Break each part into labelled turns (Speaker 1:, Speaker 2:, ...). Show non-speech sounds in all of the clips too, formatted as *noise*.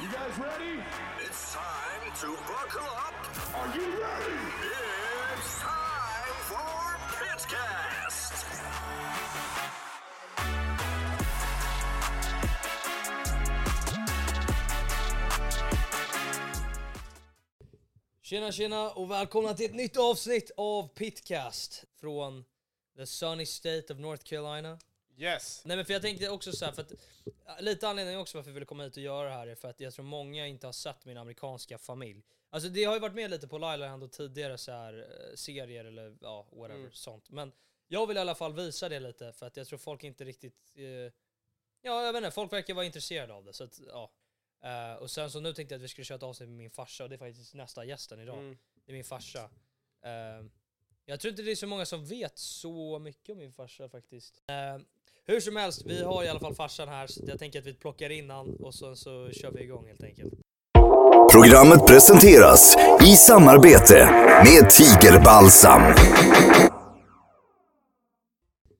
Speaker 1: You guys ready?
Speaker 2: It's time to buckle up.
Speaker 1: Are you ready?
Speaker 2: It's time for Pitcast.
Speaker 3: Tjena tjena och välkomna till ett nytt avsnitt av Pitcast från the sunny state of North Carolina.
Speaker 4: Yes.
Speaker 3: Nej men för jag tänkte också så här, för att lite anledningen också varför jag ville komma hit och göra det här är för att jag tror många inte har sett min amerikanska familj. Alltså det har ju varit med lite på Lyle Hand och tidigare så här eh, serier eller ja, whatever sånt. Men jag vill i alla fall visa det lite för att jag tror folk inte riktigt, eh, ja jag vet inte, folk verkar vara intresserade av det så att ja. Eh, och sen så nu tänkte jag att vi skulle köra ett avsnitt med min farsa och det är faktiskt nästa gästen idag. Det är min farsa. Eh, jag tror inte det är så många som vet så mycket om min farsa faktiskt. Eh, hur som helst, vi har i alla fall farsan här så jag tänker att vi plockar in han och sen så kör vi igång helt enkelt.
Speaker 2: Programmet presenteras i samarbete med Tigerbalsam.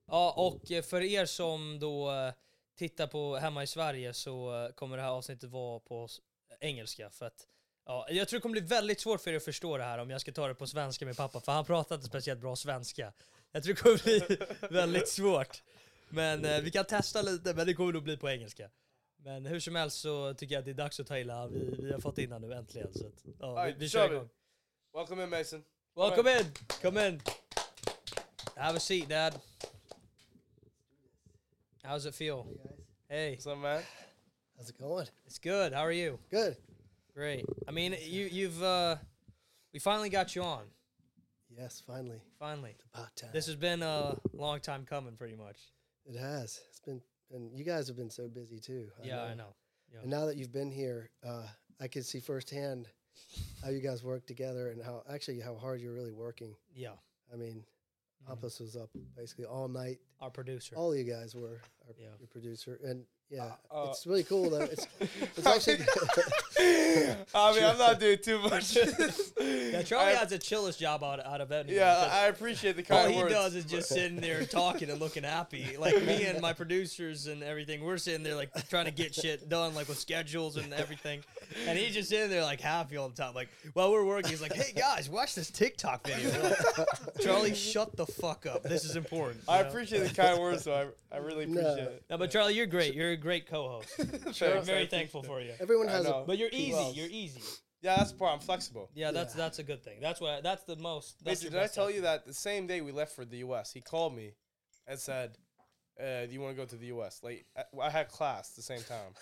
Speaker 3: Ja, och eh, för er som då eh, tittar på hemma i Sverige så eh, kommer det här avsnittet vara på s- engelska för att Ja, jag tror det kommer bli väldigt svårt för er att förstå det här om jag ska ta det på svenska med pappa, för han pratar inte speciellt bra svenska. Jag tror det kommer bli *laughs* väldigt svårt. Men eh, vi kan testa lite, men det kommer nog bli på engelska. Men hur som helst så tycker jag att det är dags att ta in han. Vi, vi har fått in han nu äntligen. Så att, ja, vi,
Speaker 4: Alright,
Speaker 3: vi
Speaker 4: kör
Speaker 3: kör
Speaker 4: vi.
Speaker 3: igång.
Speaker 4: Welcome in Mason.
Speaker 3: Welcome in. Come in. Have a seat, Dad. How's it feel? Hey,
Speaker 4: What's up, man?
Speaker 5: How's it going?
Speaker 3: it's good. How are you?
Speaker 5: Good.
Speaker 3: Great. I mean, you you've uh, we finally got you on.
Speaker 5: Yes, finally. Ah,
Speaker 3: Finally,
Speaker 5: About time.
Speaker 3: this has been a long time coming, pretty much.
Speaker 5: it has. It's been, and you guys have been so busy too.
Speaker 3: Yeah, I know.
Speaker 5: And now that you've been here, uh, I can see firsthand how you guys work together and how actually how hard you're really working.
Speaker 3: Yeah,
Speaker 5: I mean,
Speaker 3: Mm-hmm.
Speaker 5: Appas was up basically all night.
Speaker 3: our producer.
Speaker 5: All you guys were our,
Speaker 3: Yeah.
Speaker 5: your producer, and yeah,
Speaker 4: Uh, uh.
Speaker 5: it's really cool though.
Speaker 4: *laughs*
Speaker 5: It's it's actually
Speaker 4: I mean, I'm not doing too much.
Speaker 3: *laughs* Yeah, Charlie
Speaker 4: I,
Speaker 3: has the chillest job out, out of anyone.
Speaker 4: yeah,
Speaker 3: 'cause
Speaker 4: I appreciate the
Speaker 3: all
Speaker 4: kind
Speaker 3: he
Speaker 4: words.
Speaker 3: does is just sitting there talking and looking happy. Like me and my producers and everything, we're sitting there like trying to get shit done, like with schedules and everything. And he's just sitting there like happy all the time. Like while we're working, he's like, "Hey guys, watch this TikTok video." We're like, Charlie, shut the fuck up. This is important. you
Speaker 4: I
Speaker 3: know?
Speaker 4: appreciate the kind words, though. I, I really
Speaker 5: No.
Speaker 4: appreciate it.
Speaker 3: No, but Charlie, you're great. You're a great co-host.
Speaker 4: Thanks,
Speaker 3: We're
Speaker 4: I
Speaker 3: very
Speaker 4: appreciate
Speaker 3: thankful
Speaker 4: it.
Speaker 3: for you.
Speaker 5: everyone
Speaker 4: I
Speaker 5: has a
Speaker 4: know.
Speaker 3: But you're easy.
Speaker 4: else?
Speaker 3: You're easy.
Speaker 4: Yeah, that's the part. I'm flexible.
Speaker 3: Yeah, that's that's a good thing. That's what. That's the most. That's
Speaker 4: Mason,
Speaker 3: the
Speaker 4: did I
Speaker 3: best
Speaker 4: tell
Speaker 3: thing.
Speaker 4: you that the same day we left for the U.S., he called me and said, uh, "Do you want to go to the U.S.?" Like I, I had class the same time.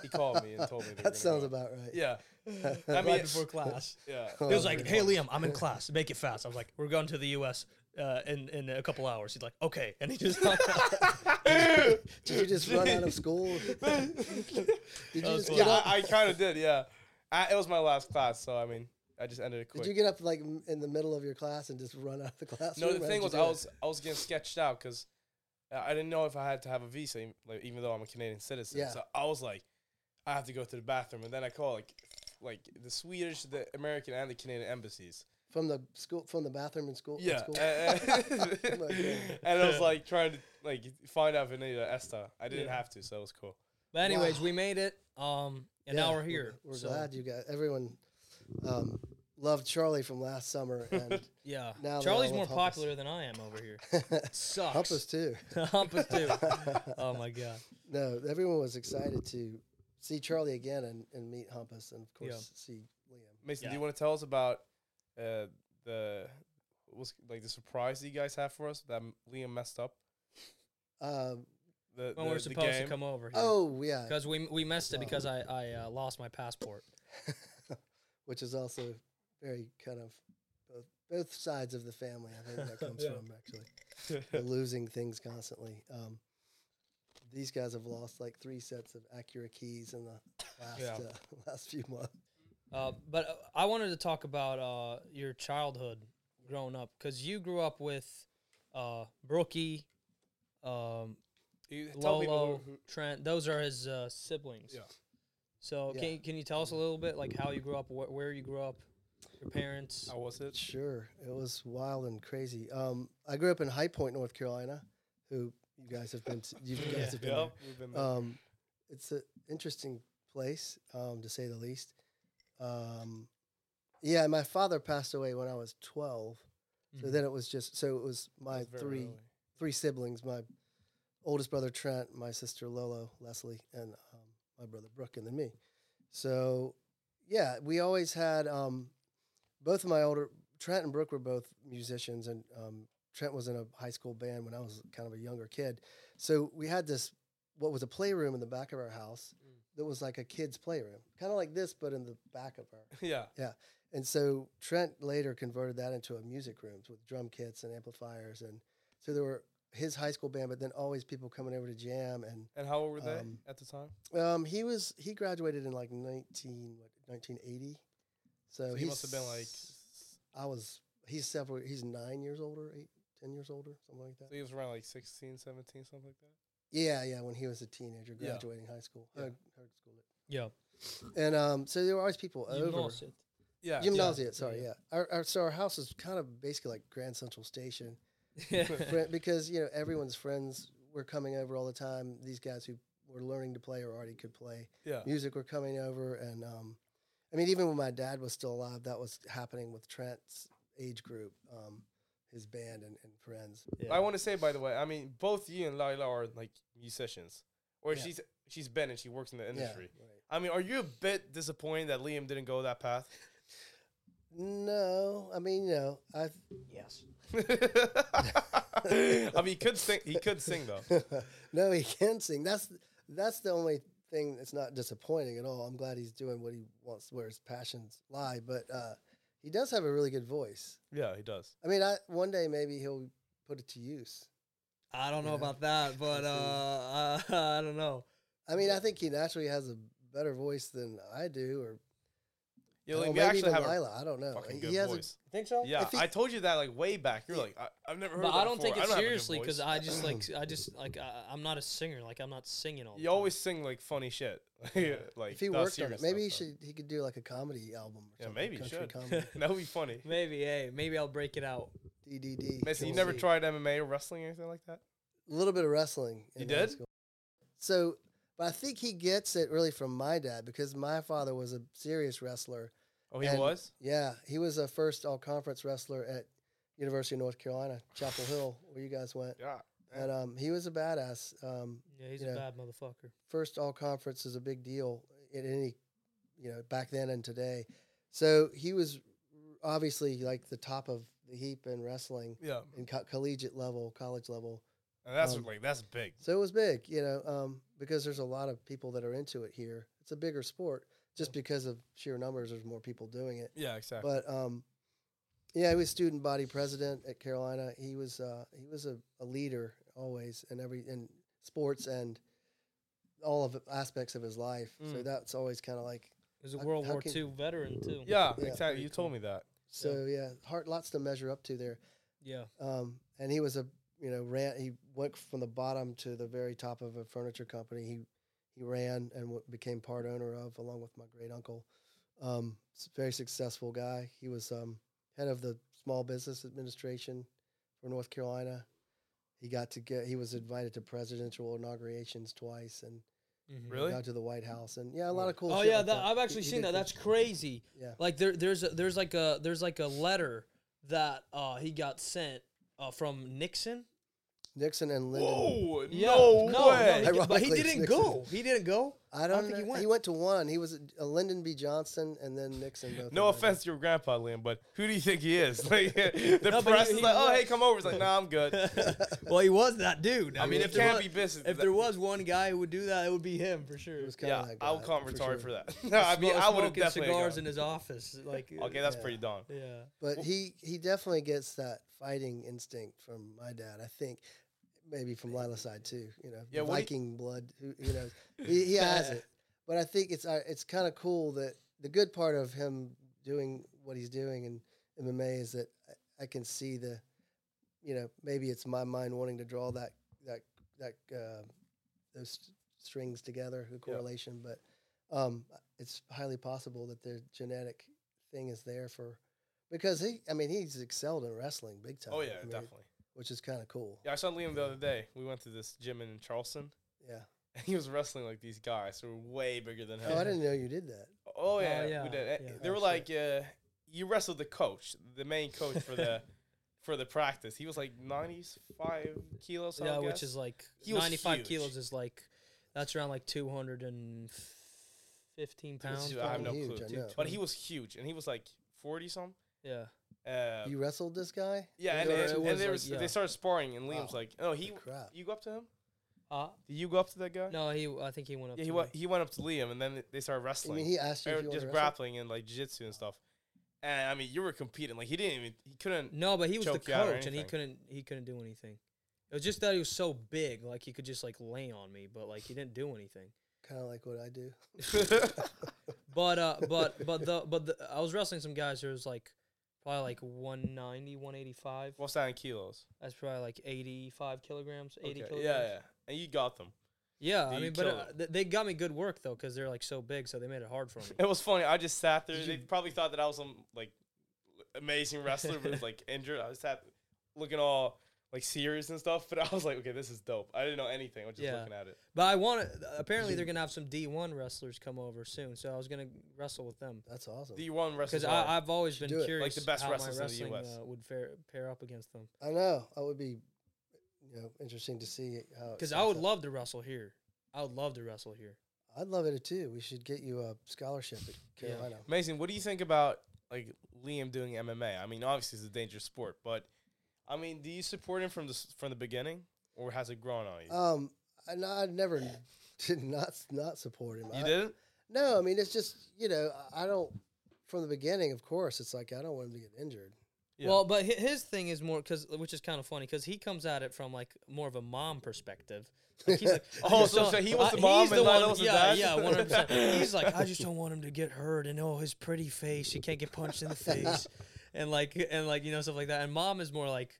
Speaker 4: He called me and told me.
Speaker 1: *laughs*
Speaker 4: they were gonna
Speaker 5: that sounds
Speaker 4: go.
Speaker 5: about right.
Speaker 4: Yeah. I mean,
Speaker 3: right before class?
Speaker 4: yeah.
Speaker 1: *laughs*
Speaker 3: He
Speaker 5: Oh,
Speaker 3: was like, "Hey Liam, I'm in class. Make it fast." I was like, "We're going to the U.S. Uh, in in a couple hours." He's like, "Okay," and he just *laughs* hung up.
Speaker 1: Oh.
Speaker 4: *laughs*
Speaker 5: Did you just run out of school? Did you just
Speaker 3: cool.
Speaker 5: get
Speaker 4: Yeah,
Speaker 5: up?
Speaker 4: I, I kind of did. Yeah, I, it was my last class, so I mean, I just ended it quick.
Speaker 5: Did you get up like m- in the middle of your class and just run out of the *laughs* classroom?
Speaker 4: no, the
Speaker 5: How
Speaker 4: thing
Speaker 5: did
Speaker 4: was,
Speaker 5: you
Speaker 4: I
Speaker 5: do it?
Speaker 4: was I was getting sketched out because I didn't know if I had to have a visa, even- like, even though I'm a Canadian citizen.
Speaker 5: Yeah.
Speaker 4: So I was like, I have to go to the bathroom, and then I call like like the Swedish, the American, and the Canadian embassies.
Speaker 5: from the school from the bathroom in school. in
Speaker 4: Yeah, *laughs*
Speaker 5: school? *laughs* Oh
Speaker 4: and,
Speaker 5: God.
Speaker 4: and I was like trying to like find out if I needed an ESTA. I didn't have to, so it was cool.
Speaker 3: But anyways, we made it. Um, and now
Speaker 5: Yeah,
Speaker 3: we're here.
Speaker 5: We're
Speaker 3: so,
Speaker 5: glad you got everyone. Um, loved Charlie from last summer and *laughs*
Speaker 3: Yeah,
Speaker 5: Now they
Speaker 3: Charlie's
Speaker 5: all
Speaker 3: more
Speaker 5: love Hampus.
Speaker 3: popular than I am over
Speaker 5: *laughs*
Speaker 3: here. It
Speaker 5: help
Speaker 3: Sucks. *laughs*
Speaker 5: us too. *laughs*
Speaker 3: Hampus too. Oh my god.
Speaker 5: No, everyone was excited to see Charlie again and, and meet Humpus and of course
Speaker 3: Yeah.
Speaker 5: see Liam.
Speaker 4: Mason, do
Speaker 3: Yeah.
Speaker 4: you want to tell us about uh, the what's like the surprise that you guys have for us that m- Liam messed up?
Speaker 5: Um,
Speaker 4: The, the-
Speaker 3: When we're
Speaker 4: the
Speaker 3: supposed to
Speaker 4: game? *laughs*
Speaker 3: come over here.
Speaker 5: oh yeah,
Speaker 3: Because we we missed it because I I uh, lost my passport.
Speaker 5: *laughs* which is also very kind of both, both sides of the family. I
Speaker 3: *laughs*
Speaker 5: think that comes from actually. They're losing things constantly. Um, these guys have lost like three sets of Acura keys in the last
Speaker 3: Yeah.
Speaker 5: uh, *laughs* last few months.
Speaker 3: Uh, but uh, I wanted to talk about uh, your childhood growing up because you grew up with uh, Brookie, um,
Speaker 4: You tell people
Speaker 3: Lolo,
Speaker 4: who- who-
Speaker 3: Trent. Those are his uh, siblings.
Speaker 4: Yeah.
Speaker 3: So
Speaker 5: Yeah.
Speaker 3: can can you tell us a little bit like how you grew up, wh- where you grew up, your parents?
Speaker 4: how was it?
Speaker 5: Sure, it was wild and crazy. Um, I grew up in High Point, North Carolina. Who you guys have been? Uh, To, you guys have been.
Speaker 4: Yeah, we've been
Speaker 5: There.
Speaker 4: there.
Speaker 5: Um, it's an interesting place, um, to say the least. Um, yeah, my father passed away when I was 12. So
Speaker 3: Mhm.
Speaker 5: then it was just, so it was
Speaker 4: Mm-hmm.
Speaker 5: my
Speaker 4: That's very
Speaker 5: three
Speaker 4: early. *laughs*
Speaker 5: three siblings my oldest brother Trent, my sister Lolo, Leslie, and um, my brother Brooke, and then me. So, yeah, we always had um, both of my older Trent and Brooke were both musicians, and um, Trent was in a high school band when I was kind of a younger kid. So we had this what was a playroom in the back of our house that was like a kid's playroom, kind of like this, but in the back of our
Speaker 4: yeah.
Speaker 5: and so Trent later converted that into a music rooms with drum kits and amplifiers, and so there were his high school band, but then always people coming over to jam. And
Speaker 4: And how old were they
Speaker 5: Um,
Speaker 4: at the time?
Speaker 5: um, he was he graduated in like 19, what, 1980, so,
Speaker 4: So he
Speaker 5: he's-
Speaker 4: must have been like.
Speaker 5: I was he's several he's nine years older, eight ten years older, something like that.
Speaker 4: So he was around like 16, 17, something like that.
Speaker 5: Yeah, yeah, when he was a teenager
Speaker 4: Yeah.
Speaker 5: graduating high school,
Speaker 4: Yeah.
Speaker 5: uh, high school,
Speaker 3: Ja.
Speaker 5: and um, so there were always people over.
Speaker 3: Gymnasiet.
Speaker 4: Yeah.
Speaker 5: Gymnasium, sorry, yeah. Our, our so our house is kind of basically like Grand Central Station.
Speaker 4: *laughs*
Speaker 5: Fri- because you know everyone's friends were coming over all the time. These guys who were learning to play or already could play
Speaker 4: Yeah.
Speaker 5: music were coming over, and um, I mean, even when my dad was still alive, that was happening with Trent's age group, um, his band, and, and friends.
Speaker 4: I want to say, by the way, I mean both you and Lila are like musicians, or
Speaker 5: Yeah.
Speaker 4: she's she's been and she works in the industry.
Speaker 5: Yeah, right.
Speaker 4: I mean, are you a bit disappointed that Liam didn't go that path?
Speaker 5: No, I mean, you know, I
Speaker 3: Yes.
Speaker 4: *laughs* I mean, he could sing. He could sing though.
Speaker 5: *laughs* no, he can sing. That's that's the only thing that's not disappointing at all. I'm glad he's doing what he wants, where his passions lie. But uh, he does have a really good voice.
Speaker 4: Yeah, he does.
Speaker 5: I mean, I one day maybe he'll put it to use.
Speaker 3: I don't know
Speaker 5: Yeah.
Speaker 3: about that, but uh, I, *laughs* I don't know.
Speaker 5: I mean, I think he naturally has a better voice than I do, or
Speaker 4: Yeah,
Speaker 5: or
Speaker 4: like, we
Speaker 5: Oh, maybe
Speaker 4: actually
Speaker 5: even
Speaker 4: have a
Speaker 5: Lila. I don't know.
Speaker 4: fucking
Speaker 5: He
Speaker 4: good
Speaker 5: has
Speaker 4: voice.
Speaker 5: think so?
Speaker 4: Yeah, I told you that like way back. You're like, I, I've never heard.
Speaker 3: But
Speaker 4: of that
Speaker 3: I don't
Speaker 4: before.
Speaker 3: take it
Speaker 4: don't have a good
Speaker 3: seriously because
Speaker 4: voice."
Speaker 3: I just like I just like I, I'm not a singer. Like I'm not singing all. the
Speaker 4: *laughs* you
Speaker 3: time.
Speaker 4: always sing like funny shit. *laughs* like
Speaker 5: if he
Speaker 4: not
Speaker 5: worked on it,
Speaker 4: serious
Speaker 5: maybe he
Speaker 4: stuff,
Speaker 5: should. He could do like a comedy album. Or
Speaker 4: though. Yeah,
Speaker 5: something,
Speaker 4: maybe you
Speaker 5: country
Speaker 4: should.
Speaker 5: comedy.
Speaker 4: *laughs* that would be
Speaker 5: *laughs*
Speaker 4: funny.
Speaker 3: maybe hey maybe I'll break it out.
Speaker 5: DDD.
Speaker 4: Mason, you
Speaker 5: We'll
Speaker 4: never
Speaker 5: see.
Speaker 4: tried MMA or wrestling or anything like that?
Speaker 5: a little bit of wrestling.
Speaker 4: You
Speaker 5: high
Speaker 4: did?
Speaker 5: school. So, but I think he gets it really from my dad because my father was a serious wrestler.
Speaker 4: Oh, he
Speaker 5: And-
Speaker 4: was.
Speaker 5: Yeah, he was a first all conference wrestler at University of North Carolina, Chapel Hill, where you guys went.
Speaker 4: Yeah.
Speaker 5: And um, he was a badass. Um,
Speaker 3: Yeah, he's
Speaker 5: Yeah.
Speaker 3: a bad motherfucker.
Speaker 5: first all conference is a big deal in any, you know, back then and today. So he was obviously like the top of the heap in wrestling
Speaker 4: Yeah,
Speaker 5: in co- collegiate level, college level.
Speaker 4: and that's
Speaker 5: Um,
Speaker 4: like that's big.
Speaker 5: So it was big, you know, um, because there's a lot of people that are into it here. It's a bigger sport just because of sheer numbers. There's more people doing it.
Speaker 4: Yeah, exactly.
Speaker 5: But um, yeah, he was student body president at Carolina. He was uh, he was a, a leader always in every in sports and all of the aspects of his life. So
Speaker 4: Mm.
Speaker 5: that's always kind of like
Speaker 3: He's a
Speaker 5: How-
Speaker 3: World
Speaker 5: how
Speaker 3: War
Speaker 5: can-
Speaker 3: II veteran too.
Speaker 4: yeah,
Speaker 5: yeah,
Speaker 4: exactly.
Speaker 5: pretty
Speaker 4: You told me that.
Speaker 5: so yeah, hard lots to measure up to there.
Speaker 3: yeah.
Speaker 5: Um, and he was a you know ran he went from the bottom to the very top of a furniture company. He he ran and w- became part owner of along with my great uncle. Um, s- very successful guy. He was um, head of the Small Business Administration for North Carolina. He got to get. He was invited to presidential inaugurations twice, and
Speaker 4: Really?
Speaker 5: got to the White House, and yeah, a lot of cool.
Speaker 3: Mm-hmm. Oh
Speaker 5: shit
Speaker 3: yeah,
Speaker 5: like
Speaker 3: that, I've
Speaker 5: He-
Speaker 3: actually
Speaker 5: he
Speaker 3: seen
Speaker 5: did
Speaker 3: that.
Speaker 5: cool
Speaker 3: That's
Speaker 5: shit.
Speaker 3: crazy.
Speaker 5: Yeah.
Speaker 3: Like there there's a, there's like a there's like a letter that uh he got sent uh from Nixon.
Speaker 5: Nixon and Lyndon.
Speaker 4: Whoa!
Speaker 3: Yeah.
Speaker 4: No,
Speaker 3: no,
Speaker 4: way.
Speaker 3: he did- but he
Speaker 5: Ironically, it's
Speaker 3: didn't
Speaker 5: Nixon.
Speaker 3: go. He didn't go.
Speaker 5: I don't.
Speaker 3: think he
Speaker 5: know.
Speaker 3: went.
Speaker 5: He went to one. He was a Lyndon B. Johnson, and then Nixon.
Speaker 4: *laughs*
Speaker 5: Both
Speaker 4: No
Speaker 5: invited.
Speaker 4: offense to your grandpa, Liam, but who do you think he is? *laughs* Like, the
Speaker 3: *laughs* No, but
Speaker 4: press
Speaker 3: he-
Speaker 4: is
Speaker 3: he
Speaker 4: like, "Oh, hey,
Speaker 3: was.
Speaker 4: come over." It's like, "Nah, I'm
Speaker 3: *laughs*
Speaker 4: good."
Speaker 3: *laughs* well, he was that dude.
Speaker 4: I mean, it
Speaker 3: if there
Speaker 4: can't
Speaker 3: was,
Speaker 4: be business.
Speaker 3: If there was one guy who would do that, it would be him for sure.
Speaker 5: It was kinda
Speaker 4: yeah,
Speaker 5: like
Speaker 3: uh,
Speaker 4: I'll
Speaker 5: that,
Speaker 4: call him retarded
Speaker 5: sure.
Speaker 4: for that. *laughs* no, I mean, I would have
Speaker 3: Smoking
Speaker 4: definitely.
Speaker 3: cigars in
Speaker 4: gone.
Speaker 3: his office. Like
Speaker 4: okay, that's
Speaker 5: Yeah.
Speaker 4: pretty dumb.
Speaker 3: yeah.
Speaker 5: But he he definitely gets that fighting instinct from my dad. I think maybe from Lila's side too. You know,
Speaker 4: Yeah,
Speaker 5: the
Speaker 4: what he-
Speaker 5: Viking blood. who- You know, he, he has
Speaker 4: *laughs*
Speaker 5: it. But I think it's uh, it's kind of cool that the good part of him doing what he's doing in MMA is that I, I can see the, you know, maybe it's my mind wanting to draw that that that uh, those strings together, the correlation. But um, it's highly possible that the genetic thing is there for because he, I mean, he's excelled in wrestling big time.
Speaker 4: Oh yeah,
Speaker 5: I mean,
Speaker 4: definitely.
Speaker 5: which is kind of cool.
Speaker 4: Yeah, I saw Liam the other day. We went to this gym in Charleston, *laughs*
Speaker 5: Yeah,
Speaker 4: he was wrestling like these guys who were way bigger than him.
Speaker 5: Oh, I didn't know you did that.
Speaker 4: Oh yeah,
Speaker 3: yeah,
Speaker 4: we did. Eh,
Speaker 3: yeah.
Speaker 4: They were
Speaker 5: Oh,
Speaker 4: like, uh, you wrestled the coach, the main coach for
Speaker 3: *laughs*
Speaker 4: the for the practice. He was like ninety five kilos.
Speaker 3: yeah,
Speaker 4: I'll
Speaker 3: which
Speaker 4: guess.
Speaker 3: is like
Speaker 4: He was
Speaker 3: 95
Speaker 4: huge.
Speaker 3: kilos is like, that's around like 215
Speaker 4: He was
Speaker 3: pounds.
Speaker 4: huge. I have
Speaker 3: probably.
Speaker 4: no
Speaker 5: Huge,
Speaker 4: clue.
Speaker 5: I know.
Speaker 4: But he was huge, and he was like forty some.
Speaker 3: Yeah.
Speaker 4: Uh,
Speaker 5: You wrestled this guy?
Speaker 4: yeah, and,
Speaker 3: Yeah,
Speaker 4: and,
Speaker 3: it
Speaker 4: and
Speaker 3: was
Speaker 4: they, were,
Speaker 3: like,
Speaker 4: s-
Speaker 3: yeah.
Speaker 4: they started sparring, and Liam's
Speaker 5: Wow.
Speaker 4: like, "Oh, he,
Speaker 5: Good crap.
Speaker 4: you go up to him?
Speaker 3: Uh,
Speaker 4: Did you go up to that guy?
Speaker 3: no, he. I think he went up.
Speaker 4: Yeah,
Speaker 3: to
Speaker 4: he
Speaker 3: me.
Speaker 4: went, he went up to Liam, and then they started
Speaker 5: I
Speaker 4: wrestling.
Speaker 5: mean, he asked you
Speaker 4: They were
Speaker 5: if you wanted
Speaker 4: just
Speaker 5: to wrestle.
Speaker 4: grappling and like jiu-jitsu and stuff. And I mean, you were competing. Like he didn't even, he
Speaker 3: *laughs*
Speaker 4: couldn't. *laughs*
Speaker 3: No, but he was the
Speaker 4: choke you out or
Speaker 3: coach, and he
Speaker 4: anything.
Speaker 3: couldn't. He couldn't do anything. It was just that he was so big, like he could just like lay on me, but like he didn't do anything.
Speaker 5: Kind of like what
Speaker 4: *laughs*
Speaker 5: I do. *laughs*
Speaker 3: But uh, but *laughs* but the but the, I was wrestling some guys who was like probably like 190, 185.
Speaker 4: What's that in kilos?
Speaker 3: That's probably like eighty five kilograms, eighty
Speaker 4: Okay,
Speaker 3: kilograms.
Speaker 4: Yeah, yeah. And you got them.
Speaker 3: yeah.
Speaker 4: Dude,
Speaker 3: I
Speaker 4: you
Speaker 3: mean, but
Speaker 4: killed
Speaker 3: uh,
Speaker 4: it.
Speaker 3: th- they got me good work though, because they're like so big, so they made it hard for me.
Speaker 4: It was funny. I just sat there.
Speaker 3: Did
Speaker 4: They
Speaker 3: you-
Speaker 4: probably thought that I was some like amazing wrestler, but was like
Speaker 3: *laughs*
Speaker 4: injured. I was sat looking all like serious and stuff. But I was like, okay, this is dope. I didn't know anything. I was just
Speaker 3: Yeah.
Speaker 4: looking at it.
Speaker 3: But I want. to Apparently, they're gonna have some D one wrestlers come over soon, so I was gonna wrestle with them.
Speaker 5: That's awesome.
Speaker 4: The one wrestler.
Speaker 3: Because I've always been
Speaker 5: do it. Like
Speaker 3: curious
Speaker 5: the
Speaker 4: best
Speaker 3: how my
Speaker 4: wrestlers in the
Speaker 3: wrestling
Speaker 4: US.
Speaker 3: uh, would fare, pair up against them.
Speaker 5: I know. That would be, you know, interesting to see how. it
Speaker 3: Because I
Speaker 5: stacks
Speaker 3: would
Speaker 5: up.
Speaker 3: love to wrestle here. I would love to wrestle here.
Speaker 5: I'd love it too. We should get you a scholarship at Carolina.
Speaker 4: Mason, what do you think about like Liam doing MMA? I mean, obviously it's a dangerous sport, but I mean, do you support him from the s- from the beginning, or has it grown on you?
Speaker 5: Um, I, no, I never *laughs* did not not support him. I,
Speaker 4: you didn't.
Speaker 5: No, I mean it's just you know I- I don't from the beginning. Of course, it's like I don't want him to get injured.
Speaker 4: Yeah.
Speaker 3: Well, but hi- his thing is more because, which is kind of funny, because he comes at it from like more of a mom perspective. Like, he's like, I
Speaker 4: *laughs* Oh,
Speaker 3: just
Speaker 4: so-
Speaker 3: don't-
Speaker 4: so he was the
Speaker 3: he's
Speaker 4: mom and
Speaker 3: one-
Speaker 4: Lionel was the
Speaker 3: yeah,
Speaker 4: dad?
Speaker 3: yeah, one hundred
Speaker 4: *laughs*
Speaker 3: percent. He's like, I just don't want him to get hurt, and oh, his pretty face, he can't get punched in
Speaker 4: *laughs*
Speaker 3: the face, and like, and like, you know, stuff like that. And mom is more like,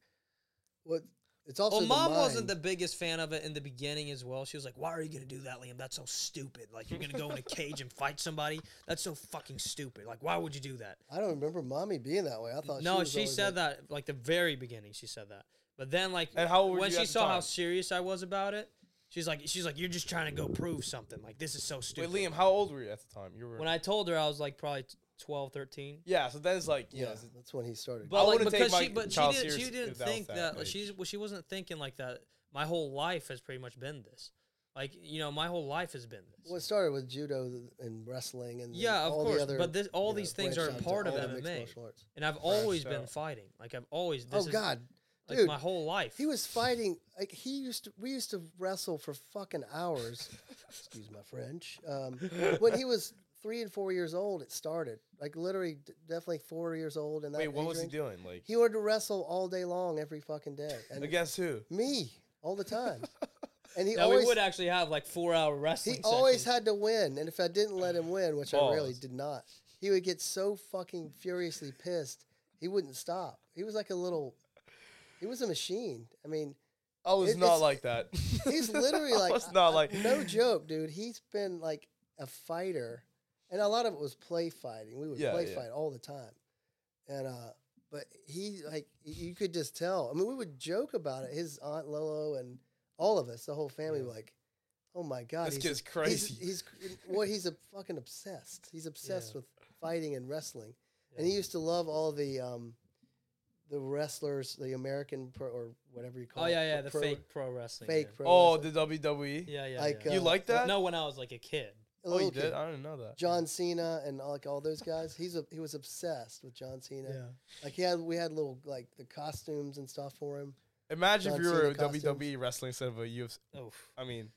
Speaker 5: What? It's also
Speaker 3: Well,
Speaker 5: the
Speaker 3: mom wasn't the
Speaker 5: mind.
Speaker 3: biggest fan of it in the beginning as well. She was like, "Why are you gonna do that, Liam? That's so stupid. Like, you're gonna go in a cage and fight somebody. That's so fucking stupid. Like, why would you do that?"
Speaker 5: I don't remember mommy being that way. I thought she
Speaker 3: no,
Speaker 5: was
Speaker 3: she
Speaker 5: always
Speaker 3: said
Speaker 5: like,
Speaker 3: that like the very beginning. She said that, but then like
Speaker 4: And how old were
Speaker 3: when
Speaker 4: you
Speaker 3: she
Speaker 4: at the
Speaker 3: saw how
Speaker 4: time?
Speaker 3: serious I was about it, she's like, she's like, "You're just trying to go prove something. Like, this is so
Speaker 4: Wait,
Speaker 3: stupid."
Speaker 4: Liam, how old were you at the time? You were.
Speaker 3: when I told her, I was like probably 12, 13.
Speaker 4: yeah, so then it's like, yeah,
Speaker 5: Yeah,
Speaker 4: it's-
Speaker 5: that's when he started.
Speaker 3: But like
Speaker 4: wouldn't take
Speaker 3: because
Speaker 4: my
Speaker 3: she, but she
Speaker 4: child
Speaker 3: didn't, she
Speaker 4: serious
Speaker 3: didn't
Speaker 4: if that was
Speaker 3: think
Speaker 4: that
Speaker 3: that,
Speaker 4: age.
Speaker 3: she's well, she wasn't thinking like that. My whole life has pretty much been this. Like you know, my whole life has been this.
Speaker 5: well, it started with judo th- and wrestling and then
Speaker 3: Yeah, of
Speaker 5: all
Speaker 3: course,
Speaker 5: The other,
Speaker 3: but this- all
Speaker 5: you know,
Speaker 3: these things
Speaker 5: branch
Speaker 3: are
Speaker 5: outs
Speaker 3: part of
Speaker 5: all the mixed
Speaker 3: MMA.
Speaker 5: martial arts.
Speaker 3: And I've always been
Speaker 4: out.
Speaker 3: fighting. Like I've always. This
Speaker 5: oh
Speaker 3: is,
Speaker 5: God,
Speaker 3: Like
Speaker 5: dude,
Speaker 3: my whole life.
Speaker 5: he was fighting. Like he used to, we used to wrestle for fucking hours. excuse my French. Um, when he was three and four years old, it started. Like literally, d- definitely four years old. And that
Speaker 4: wait, what
Speaker 5: age
Speaker 4: was he
Speaker 5: range.
Speaker 4: doing? Like
Speaker 5: He wanted to wrestle all day long, every fucking day, and
Speaker 4: against who?
Speaker 5: me all the time. And he
Speaker 3: Now we
Speaker 5: always
Speaker 3: would actually have like four hour wrestling.
Speaker 5: he always
Speaker 3: sessions.
Speaker 5: had to win, and if I didn't let him win, which I really
Speaker 4: Pause.
Speaker 5: did not, he would get so fucking furiously pissed he wouldn't stop. He was like a little, he was a machine. I mean,
Speaker 4: I was
Speaker 5: It-
Speaker 4: not
Speaker 5: it's-
Speaker 4: like that.
Speaker 5: *laughs* he's literally
Speaker 4: *laughs*
Speaker 5: like,
Speaker 4: I was not
Speaker 5: I-
Speaker 4: like
Speaker 5: no joke, dude. He's been like a fighter, and a lot of it was play fighting. We would
Speaker 4: Yeah,
Speaker 5: play
Speaker 4: yeah.
Speaker 5: fight all the time, and uh, but he like y- you could just tell. I mean, we would joke about it. His aunt Lolo and all of us, the whole family, were like, oh my god,
Speaker 4: This
Speaker 5: he's
Speaker 4: kid's
Speaker 5: a-
Speaker 4: crazy."
Speaker 5: He's, he's well, he's a fucking obsessed. He's obsessed with fighting and wrestling, and he used to love all the. um the wrestlers, the American pro or whatever you call
Speaker 3: Oh
Speaker 5: it.
Speaker 3: yeah, yeah,
Speaker 5: pro-
Speaker 3: the
Speaker 5: pro-
Speaker 3: fake pro wrestling.
Speaker 5: fake
Speaker 3: yeah.
Speaker 5: pro.
Speaker 4: Oh,
Speaker 5: wrestling.
Speaker 4: the WWE.
Speaker 3: Yeah, yeah.
Speaker 5: Like,
Speaker 3: yeah.
Speaker 5: uh,
Speaker 4: You like that?
Speaker 3: no, oh, when I was like a kid.
Speaker 5: A
Speaker 4: Oh, you
Speaker 5: little
Speaker 4: did.
Speaker 5: kid.
Speaker 4: I didn't know that.
Speaker 5: John Cena and all- like all those guys. He's a, he was obsessed with John Cena. Like he had we had little like the costumes and stuff for him.
Speaker 4: Imagine if
Speaker 5: John
Speaker 4: you were
Speaker 5: Cena
Speaker 4: a WWE wrestler instead of a UFC.
Speaker 3: Oh
Speaker 4: I mean,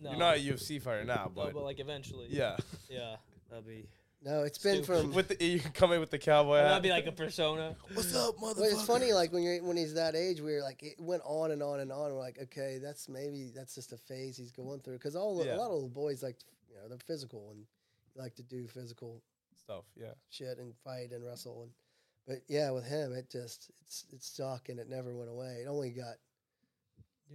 Speaker 3: no.
Speaker 4: you're not a UFC fighter now,
Speaker 3: *laughs* no,
Speaker 4: but,
Speaker 3: but like eventually.
Speaker 4: yeah,
Speaker 3: *laughs*
Speaker 4: *laughs*
Speaker 3: Yeah. That'd be.
Speaker 5: No, it's been
Speaker 3: Stupid.
Speaker 5: from.
Speaker 4: with the, you come in with the cowboy hat.
Speaker 3: That'd be like a persona.
Speaker 4: *laughs* What's up, motherfucker?
Speaker 5: Well, it's funny like when you're when he's that age, we were like it went on and on and on. We're like, okay, that's maybe that's just a phase he's going through because all the-
Speaker 4: Yeah.
Speaker 5: a lot of little boys like you know they're physical and like to do physical
Speaker 4: stuff. Yeah.
Speaker 5: shit and fight and wrestle and but yeah with him it just it's it stuck and it never went away it only got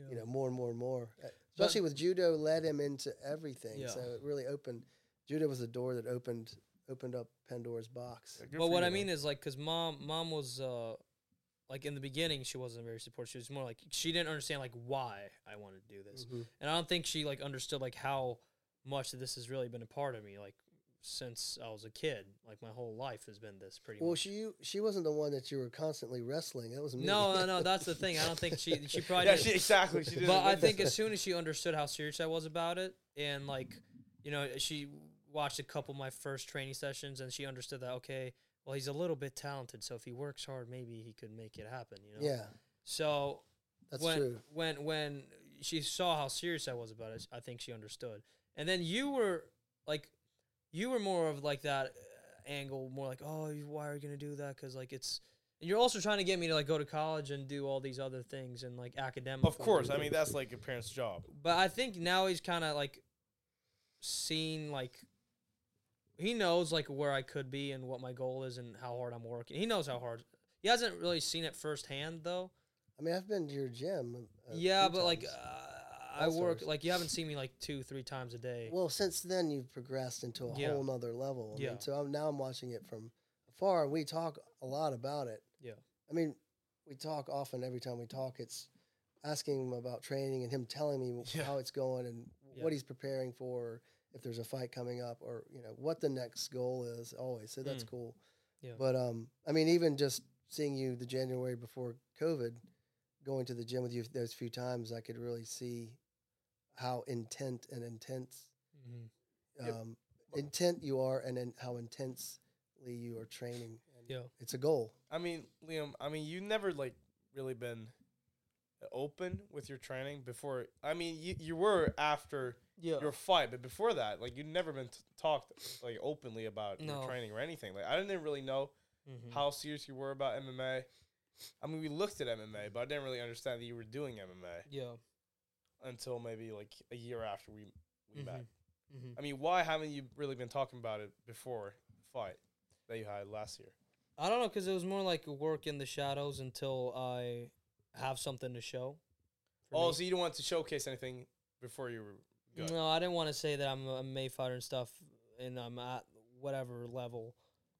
Speaker 5: you know more and more and more Uh, especially with judo led him into everything
Speaker 3: Yeah.
Speaker 5: so it really opened judo was a door that opened opened up pandora's box
Speaker 4: Good for
Speaker 3: Well, what
Speaker 4: you,
Speaker 3: I
Speaker 4: man.
Speaker 3: mean is like, cause mom, mom was, uh, like in the beginning she wasn't very supportive. She was more like she didn't understand like why I wanted to do
Speaker 5: Mm.
Speaker 3: this, and I don't think she like understood like how much this has really been a part of me like since I was a kid. Like my whole life has been this pretty
Speaker 5: Well,
Speaker 3: much.
Speaker 5: she she wasn't the one that you were constantly wrestling. That was me.
Speaker 3: no, no, no. That's the thing. I don't think she she probably
Speaker 4: yeah,
Speaker 3: did.
Speaker 4: she, exactly. She didn't
Speaker 3: but I
Speaker 4: win.
Speaker 3: think as soon as she understood how serious I was about it, and like, you know, she watched a couple of my first training sessions, and she understood that okay, well, he's a little bit talented, so if he works hard, maybe he could make it happen. *laughs* You know.
Speaker 5: Yeah,
Speaker 3: So
Speaker 5: that's
Speaker 3: when
Speaker 5: true.
Speaker 3: when when she saw how serious I was about it, I think she understood. And then you were like, you were more of like that uh, angle, more like, oh, you- why are you gonna do that? Because like it's. And you're also trying to get me to like go to college and do all these other things and like academic.
Speaker 4: of course. I mean, that's like your parents' job.
Speaker 3: But I think now he's kind of like seen like he knows like where I could be and what my goal is and how hard I'm working. He knows how hard. He hasn't really seen it firsthand though.
Speaker 5: I mean, I've been to your gym. a
Speaker 3: yeah,
Speaker 5: few
Speaker 3: but like
Speaker 5: times.
Speaker 3: uh, I
Speaker 5: All
Speaker 3: work
Speaker 5: stars.
Speaker 3: like you haven't seen me like two three times a day.
Speaker 5: well, since then you've progressed into a
Speaker 3: Yeah.
Speaker 5: whole nother level. I mean,
Speaker 3: Yeah.
Speaker 5: so I'm, now I'm watching it from afar. and We talk a lot about it.
Speaker 3: Yeah.
Speaker 5: I mean, we talk often. Every time we talk, it's asking him about training and him telling me
Speaker 3: *laughs*
Speaker 5: wh-
Speaker 4: Yeah.
Speaker 5: how it's going and
Speaker 3: Yeah.
Speaker 5: what he's preparing for, if there's a fight coming up, or you know what the next goal is. Always, so that's
Speaker 3: Mm.
Speaker 5: cool.
Speaker 3: Yeah.
Speaker 5: But um, I mean, even just seeing you the January before COVID, going to the gym with you those few times, I could really see how intent and intense
Speaker 3: Mhm.
Speaker 4: Yep.
Speaker 5: um, intent you are, and then how intensely you are training. And
Speaker 3: Yeah.
Speaker 5: It's a goal.
Speaker 4: I mean, Liam. I mean, you never like really been open with your training before. I mean, you, you were after
Speaker 3: Yeah.
Speaker 4: your fight, but before that, like you'd never been t- talked like openly about
Speaker 3: No.
Speaker 4: your training or anything. Like I didn't really know
Speaker 3: Mhm.
Speaker 4: how serious you were about MMA. I mean, we looked at MMA, but I didn't really understand that you were doing MMA
Speaker 3: Yeah.
Speaker 4: until maybe like a year after we we met.
Speaker 3: Mhm. Mhm.
Speaker 4: I mean, why haven't you really been talking about it before the fight that you had last year?
Speaker 3: I don't know because it was more like work in the shadows until I have something to show. for
Speaker 4: Oh,
Speaker 3: me.
Speaker 4: so you didn't want to showcase anything before you were good.
Speaker 3: No, I didn't want to say that I'm a May fighter and stuff, and I'm at whatever level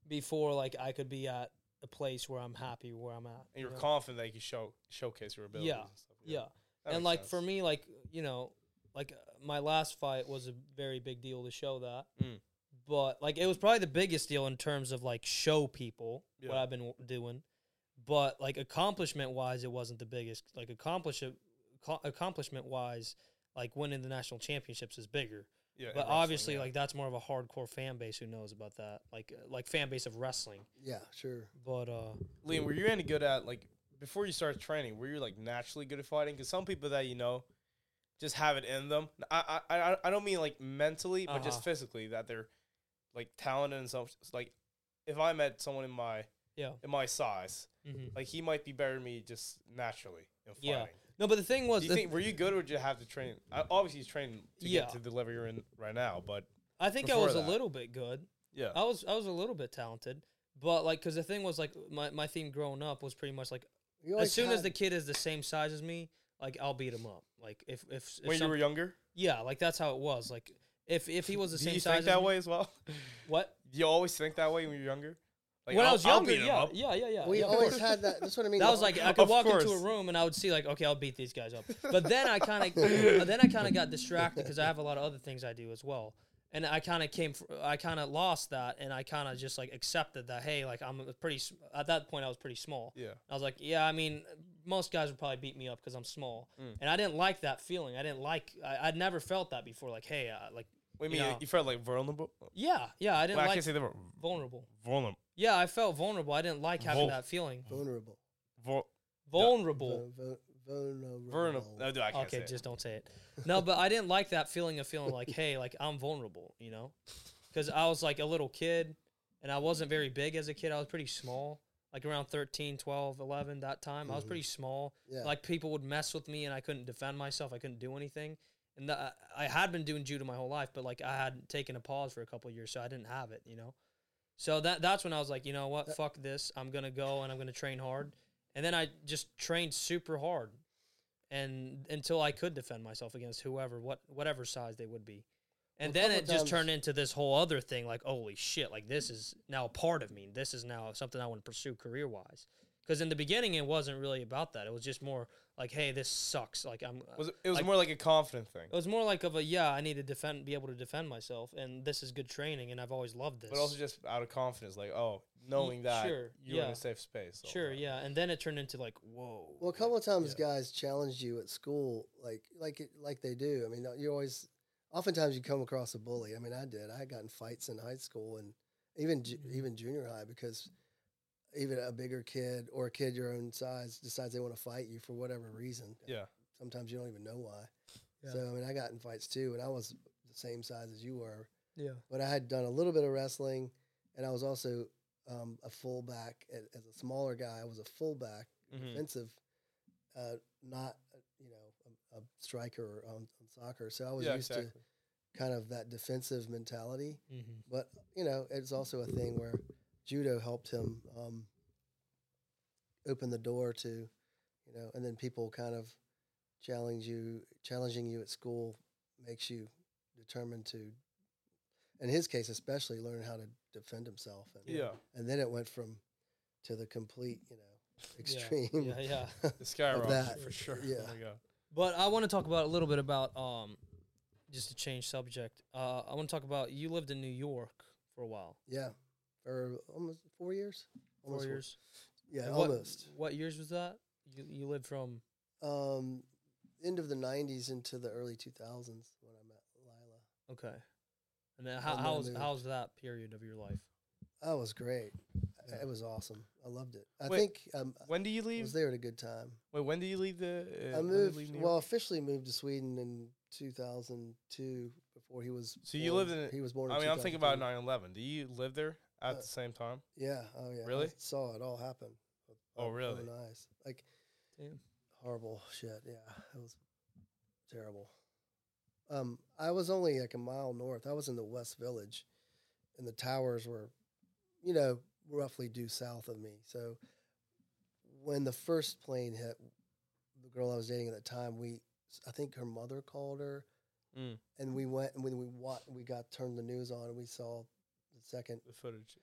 Speaker 3: before like I could be at a place where I'm happy where I'm at.
Speaker 4: and you're
Speaker 3: you know?
Speaker 4: confident that you can show showcase your abilities. and stuff.
Speaker 3: yeah.
Speaker 4: that makes
Speaker 3: and like for
Speaker 4: sense.
Speaker 3: me, like you know, like uh, my last fight was a very big deal to show that.
Speaker 4: Mm.
Speaker 3: But like it was probably the biggest deal in terms of like show people what
Speaker 4: Yeah.
Speaker 3: I've been w- doing. But like accomplishment wise, it wasn't the biggest. Like accomplish co- accomplishment wise, like winning the national championships is bigger.
Speaker 4: yeah, in
Speaker 3: But
Speaker 4: wrestling,
Speaker 3: obviously,
Speaker 4: yeah.
Speaker 3: like that's more of a hardcore fan base who knows about that. Like uh, like fan base of wrestling.
Speaker 5: Yeah, sure.
Speaker 3: But uh,
Speaker 4: Liam, were you any good at like before you started training? Were you like naturally good at fighting? Because some people that you know just have it in them. I I I- I don't mean like mentally, but
Speaker 3: Uh-huh.
Speaker 4: just physically that they're like talented and stuff. It's Like if I met someone in my
Speaker 3: yeah.
Speaker 4: in my size,
Speaker 3: hmm
Speaker 4: like he might be better than me just naturally in fighting.
Speaker 3: Yeah. No, but the thing was,
Speaker 4: Do you
Speaker 3: the-
Speaker 4: think were you good or did you have to train? I- Obviously, he's training to
Speaker 3: Yeah.
Speaker 4: get to the level you're in right now, but
Speaker 3: I think I
Speaker 4: before
Speaker 3: was a
Speaker 4: that?
Speaker 3: little bit good.
Speaker 4: yeah,
Speaker 3: I was I was a little bit talented, but like because the thing was like my, my theme growing up was pretty much like
Speaker 5: You
Speaker 3: as
Speaker 5: always
Speaker 3: soon as the
Speaker 5: had-
Speaker 3: kid is the same size as me, like I'll beat him up. Like if if, if
Speaker 4: when you
Speaker 3: some-
Speaker 4: were younger,
Speaker 3: yeah, like that's how it was. Like if if he was the
Speaker 4: do
Speaker 3: same
Speaker 4: you
Speaker 3: size
Speaker 4: think
Speaker 3: as
Speaker 4: that
Speaker 3: me-
Speaker 4: way as well? *laughs*
Speaker 3: what
Speaker 4: Do you always think that way when you're younger? Like,
Speaker 3: when i
Speaker 4: I'll-
Speaker 3: was
Speaker 4: I'll
Speaker 3: younger,
Speaker 4: beat him
Speaker 3: yeah,
Speaker 4: up.
Speaker 3: yeah, yeah, yeah,
Speaker 5: we
Speaker 3: yeah, of *laughs*
Speaker 5: always
Speaker 3: course.
Speaker 5: had that. That's what I mean.
Speaker 3: That
Speaker 5: the
Speaker 3: was
Speaker 5: whole-
Speaker 3: like I could
Speaker 4: Of
Speaker 3: walk into a
Speaker 4: course.
Speaker 3: room and I would see like okay I'll beat these guys up, but then
Speaker 4: *laughs*
Speaker 3: I kind of then I kind of got distracted because I have a lot of other things I do as well, and I kind of came fr- I kind of lost that and I kind of just like accepted that hey like I'm a pretty s- at that point I was pretty small
Speaker 4: Yeah.
Speaker 3: I was like yeah I mean most guys would probably beat me up because I'm small
Speaker 4: Mm.
Speaker 3: and I didn't like that feeling I didn't like I, I'd never felt that before like hey uh, like
Speaker 4: What do
Speaker 3: you
Speaker 4: you mean?
Speaker 3: know.
Speaker 4: You felt like vulnerable?
Speaker 3: yeah yeah I didn't
Speaker 4: Well, I
Speaker 3: like
Speaker 4: can't say the word
Speaker 3: vulnerable
Speaker 4: vulnerable.
Speaker 3: yeah I felt vulnerable I didn't like having
Speaker 4: Vul-
Speaker 3: that feeling
Speaker 5: vulnerable.
Speaker 4: Vul-
Speaker 3: vulnerable.
Speaker 5: Vu- vu- vulnerable.
Speaker 4: vulnerable. No, dude, I can't
Speaker 3: Okay,
Speaker 4: say it.
Speaker 3: just don't say it. No, but I didn't like that feeling of feeling like, hey, like I'm vulnerable, you know? Because I was like a little kid and I wasn't very big as a kid. I was pretty small, like around 13, 12, 11, that time. I was pretty small.
Speaker 5: Yeah.
Speaker 3: Like people would mess with me and I couldn't defend myself. I couldn't do anything. And the, I I had been doing judo my whole life, but like I had taken a pause for a couple of years, so I didn't have it, you know? So that that's when I was like, you know what, fuck this. I'm gonna go and I'm gonna train hard. And then I just trained super hard, and until I could defend myself against whoever, what whatever size they would be. And
Speaker 5: Well, a
Speaker 3: then it
Speaker 5: couple
Speaker 3: just
Speaker 5: times-
Speaker 3: turned into this whole other thing, like holy shit, like this is now a part of me. This is now something I want to pursue career wise. Because in the beginning, it wasn't really about that. It was just more like, hey, this sucks. Like I'm.
Speaker 4: Was it, it was
Speaker 3: like- Oh,
Speaker 4: more like a confident thing,
Speaker 3: It was more like of a yeah, I need to defend, be able to defend myself, and this is good training, and I've always loved this.
Speaker 4: but also just out of confidence, like oh, knowing that
Speaker 3: sure,
Speaker 4: you're in
Speaker 3: yeah.
Speaker 4: a safe space. all the
Speaker 3: sure,
Speaker 4: time.
Speaker 3: yeah, and then it turned into like whoa.
Speaker 5: Well, a
Speaker 3: like,
Speaker 5: couple of times
Speaker 3: yeah.
Speaker 5: guys challenged you at school, like like it- like they do. I mean, you always, oftentimes you come across a bully. I mean, I did. I got in fights in high school and even ju-
Speaker 3: Mm-hmm.
Speaker 5: even junior high because even a bigger kid or a kid your own size decides they want to fight you for whatever reason.
Speaker 4: Yeah.
Speaker 5: Sometimes you don't even know why.
Speaker 3: Yeah.
Speaker 5: So I mean, I got in fights too, and I was the same size as you were,
Speaker 3: yeah,
Speaker 5: but I had done a little bit of wrestling, and I was also um, a fullback. A- As a smaller guy, I was a fullback
Speaker 4: Mhm.
Speaker 5: defensive, uh, not uh, you know a, a striker on, on soccer. So I was
Speaker 4: Yeah,
Speaker 5: used
Speaker 4: exactly.
Speaker 5: to kind of that defensive mentality.
Speaker 3: mm-hmm.
Speaker 5: But you know, it's also a thing where judo helped him um, open the door to, you know, and then people kind of challenge you, challenging you at school makes you determined to, in his case especially, learn how to defend himself. And,
Speaker 4: Yeah.
Speaker 5: and then it went from to the complete, you know, extreme.
Speaker 3: yeah, yeah.
Speaker 4: The skyrocket
Speaker 5: that,
Speaker 4: for sure.
Speaker 5: yeah.
Speaker 4: Oh my God.
Speaker 3: But I want to talk about a little bit about um, just to change subject. Uh, I want to talk about you lived in New York for a while,
Speaker 5: *laughs* Yeah, for almost four years.
Speaker 3: four
Speaker 5: Almost
Speaker 3: years.
Speaker 5: Yeah,
Speaker 3: And what-
Speaker 5: almost.
Speaker 3: What years was that? You you lived from
Speaker 5: Um, end of the '90s into the early 2000s when I met Lila.
Speaker 3: okay, and then how
Speaker 5: And then
Speaker 3: how's
Speaker 5: moved.
Speaker 3: how's that period of your life?
Speaker 5: That was great.
Speaker 3: Yeah.
Speaker 5: It was awesome. I loved it. I
Speaker 4: Wait,
Speaker 5: think um,
Speaker 4: When do you
Speaker 5: I
Speaker 4: leave?
Speaker 5: was there at a good time.
Speaker 4: Wait, when do you leave the? Uh,
Speaker 5: I
Speaker 4: when do you
Speaker 5: moved.
Speaker 4: leave New
Speaker 5: Well,
Speaker 4: York?
Speaker 5: officially moved to Sweden in 2002 before he was.
Speaker 4: So you
Speaker 5: born.
Speaker 4: lived in-
Speaker 5: He was born.
Speaker 4: I
Speaker 5: in
Speaker 4: mean, I'm thinking about
Speaker 5: 2003.
Speaker 4: 9/11. Do you live there at
Speaker 5: Uh,
Speaker 4: the same time?
Speaker 5: Yeah. Oh yeah. I
Speaker 4: Really?
Speaker 5: saw it all happen. with
Speaker 4: Oh,
Speaker 5: my own
Speaker 4: really?
Speaker 5: eyes. Like,
Speaker 3: Damn.
Speaker 5: horrible shit. Yeah, it was terrible. Um, I was only like a mile north. I was in the West Village, and the towers were, you know, roughly due south of me. So, when the first plane hit, the girl I was dating at the time, we, I think her mother called her,
Speaker 4: Mm.
Speaker 5: and we went and when we wa- we got turned the news on and we saw the second.
Speaker 4: The footage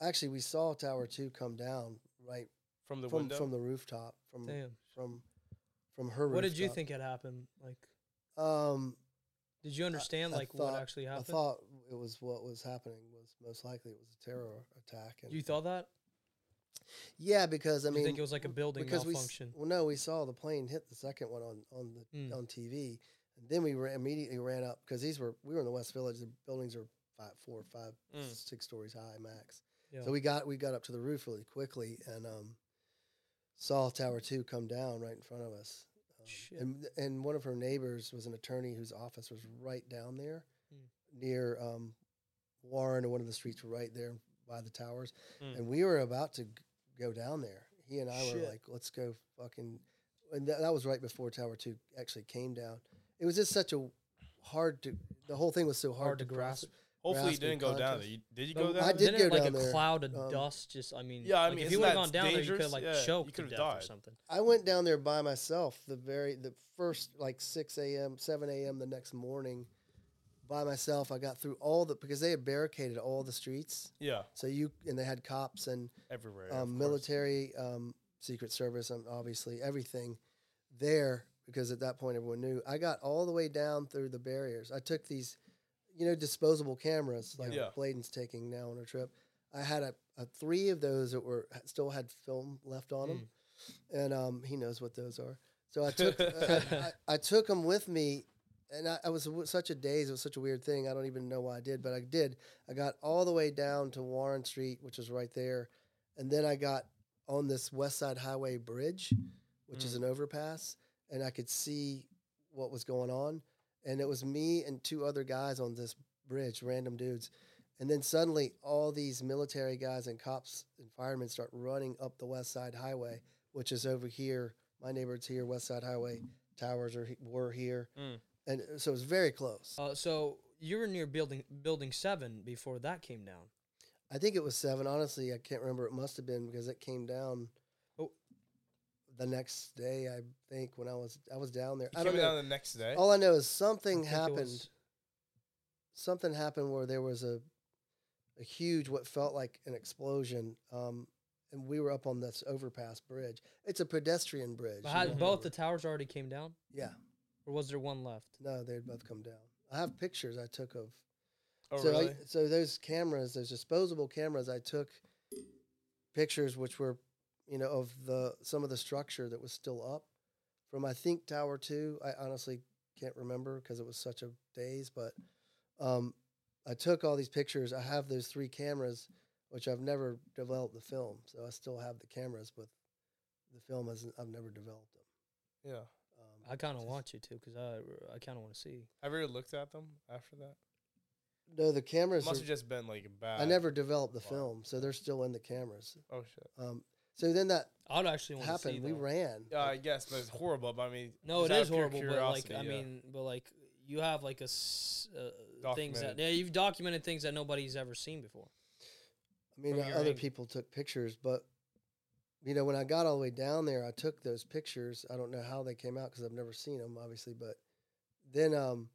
Speaker 5: Actually, we saw
Speaker 3: Mm.
Speaker 5: Tower Two come down right
Speaker 4: from the
Speaker 5: from
Speaker 4: window.
Speaker 5: from the rooftop from
Speaker 3: Damn.
Speaker 5: from from her.
Speaker 3: What did you
Speaker 5: rooftop.
Speaker 3: think had happened? Like,
Speaker 5: Um,
Speaker 3: did you understand
Speaker 5: I
Speaker 3: like what
Speaker 5: thought-
Speaker 3: actually
Speaker 5: I
Speaker 3: happened?
Speaker 5: thought it was what was happening was most likely it was a terror attack. And
Speaker 3: you thought that?
Speaker 5: yeah, because I
Speaker 3: I
Speaker 5: mean,
Speaker 3: think it was like a building
Speaker 5: because we s-
Speaker 3: malfunction.
Speaker 5: well, no, we saw the plane hit the second one on on the
Speaker 3: Mm.
Speaker 5: on TV, and then we ran, immediately ran up because these were we were in the West Village. The buildings are five, four, five,
Speaker 4: Mm.
Speaker 5: six stories high max.
Speaker 3: Hmm. Yeah.
Speaker 5: So we got we got up to the roof really quickly and um, saw Tower Two come down right in front of us. Um,
Speaker 3: Shit.
Speaker 5: And and one of her neighbors was an attorney whose office was right down there,
Speaker 3: Mm.
Speaker 5: near um, Warren, and one of the streets were right there by the towers.
Speaker 4: Mm.
Speaker 5: And we were about to g- go down there. He and I
Speaker 3: Shit.
Speaker 5: were like, "Let's go fucking," and tha- that was right before Tower Two actually came down. It was just such a hard to. The whole thing was so hard,
Speaker 3: Hard to grasp.
Speaker 4: Hopefully, you
Speaker 5: grasp
Speaker 4: didn't
Speaker 5: and
Speaker 4: go down there.
Speaker 5: contest. Um,
Speaker 4: You, did you
Speaker 3: No,
Speaker 4: go down?
Speaker 5: I
Speaker 4: there?
Speaker 5: did
Speaker 3: Didn't
Speaker 5: go
Speaker 3: it, like
Speaker 5: down
Speaker 3: a
Speaker 5: there.
Speaker 3: cloud of
Speaker 5: Um,
Speaker 3: dust. Just I mean,
Speaker 4: Yeah, I
Speaker 3: like,
Speaker 4: mean,
Speaker 3: if you
Speaker 4: isn't
Speaker 3: would have
Speaker 4: that
Speaker 3: gone down there, you could
Speaker 4: dangerous?
Speaker 3: like
Speaker 4: Yeah,
Speaker 3: choke
Speaker 4: you
Speaker 3: to
Speaker 4: could've
Speaker 3: death or
Speaker 4: died.
Speaker 3: something.
Speaker 5: I went down there by myself the very the first like six a.m. seven a.m. the next morning. By myself, I got through all the because they had barricaded all the streets.
Speaker 4: Yeah,
Speaker 5: So you and they had cops and
Speaker 4: everywhere. of
Speaker 5: um,
Speaker 4: course.
Speaker 5: military, um, Secret Service, um, obviously everything there because at that point everyone knew. I got all the way down through the barriers. I took these, you know, disposable cameras like
Speaker 4: Yeah.
Speaker 5: Bladen's taking now on her trip. I had a, a three of those that were still had film left
Speaker 4: Hmm.
Speaker 5: on them, and um, he knows what those are. So I took *laughs* I, I, I took them with me, and I, I was w- such a daze. It was such a weird thing. I don't even know why I did, but I did. I got all the way down to Warren Street, which was right there, and then I got on this West Side Highway bridge, which is an overpass, and I could see what was going on. And it was me and two other guys on this bridge, random dudes. And then suddenly, all these military guys and cops and firemen start running up the West Side Highway, which is over here. My neighborhood's here, West Side Highway. Towers are he- were here,
Speaker 4: Mm.
Speaker 5: and uh, so it was very close.
Speaker 3: Uh, so you were near building building seven before that came down.
Speaker 5: I think it was seven. Honestly, I can't remember. It must have been because it came down.
Speaker 3: Oh.
Speaker 5: the next day, I think when I was I was down there.
Speaker 4: You
Speaker 5: I
Speaker 4: came
Speaker 5: don't know. Oh,
Speaker 4: down the next day.
Speaker 5: All I know is
Speaker 3: I
Speaker 5: something
Speaker 3: think it
Speaker 5: happened.
Speaker 3: was-
Speaker 5: Something happened where there was a a huge what felt like an explosion, um, and we were up on this overpass bridge. It's a pedestrian bridge.
Speaker 3: But
Speaker 5: you
Speaker 3: had
Speaker 5: know.
Speaker 3: both the towers already came down,
Speaker 5: yeah.
Speaker 3: or was there one left?
Speaker 5: No, they'd both come down. I have pictures I took of
Speaker 4: Oh,
Speaker 5: so,
Speaker 4: really?
Speaker 5: I, so those cameras, those disposable cameras, I took pictures which were, you know, of the some of the structure that was still up from I think Tower Two. I honestly can't remember because it was such a daze, but um, I took all these pictures. I have those three cameras, which I've never developed the film, so I still have the cameras, but the film hasn't. I've never developed them.
Speaker 4: yeah.
Speaker 5: Um,
Speaker 3: I kind of
Speaker 5: just-
Speaker 3: want you to, because I I kind of want to see.
Speaker 4: Have you ever looked at them after that?
Speaker 5: No, the
Speaker 4: It
Speaker 5: cameras.
Speaker 4: must
Speaker 5: are-
Speaker 4: have just been like bad.
Speaker 5: I never developed the
Speaker 4: Wow.
Speaker 5: film, so they're still in the cameras.
Speaker 4: Oh shit.
Speaker 5: Um, so then that
Speaker 3: I'd actually want to see.
Speaker 5: happened. We
Speaker 3: though.
Speaker 5: ran.
Speaker 4: Yeah, I guess, but it's horrible. But I mean,
Speaker 3: No,
Speaker 4: just
Speaker 3: it
Speaker 4: out
Speaker 3: is
Speaker 4: of pure
Speaker 3: horrible, but like
Speaker 4: curiosity,
Speaker 3: I
Speaker 4: yeah.
Speaker 3: mean, but like you have like a s- uh, things that
Speaker 4: Documented.
Speaker 3: yeah you've documented things that nobody's ever seen before.
Speaker 5: I mean,
Speaker 3: from
Speaker 5: uh,
Speaker 3: your
Speaker 5: other
Speaker 3: angle.
Speaker 5: people took pictures, but you know, when I got all the way down there, I took those pictures. I don't know how they came out because I've never seen them, obviously. But then, um,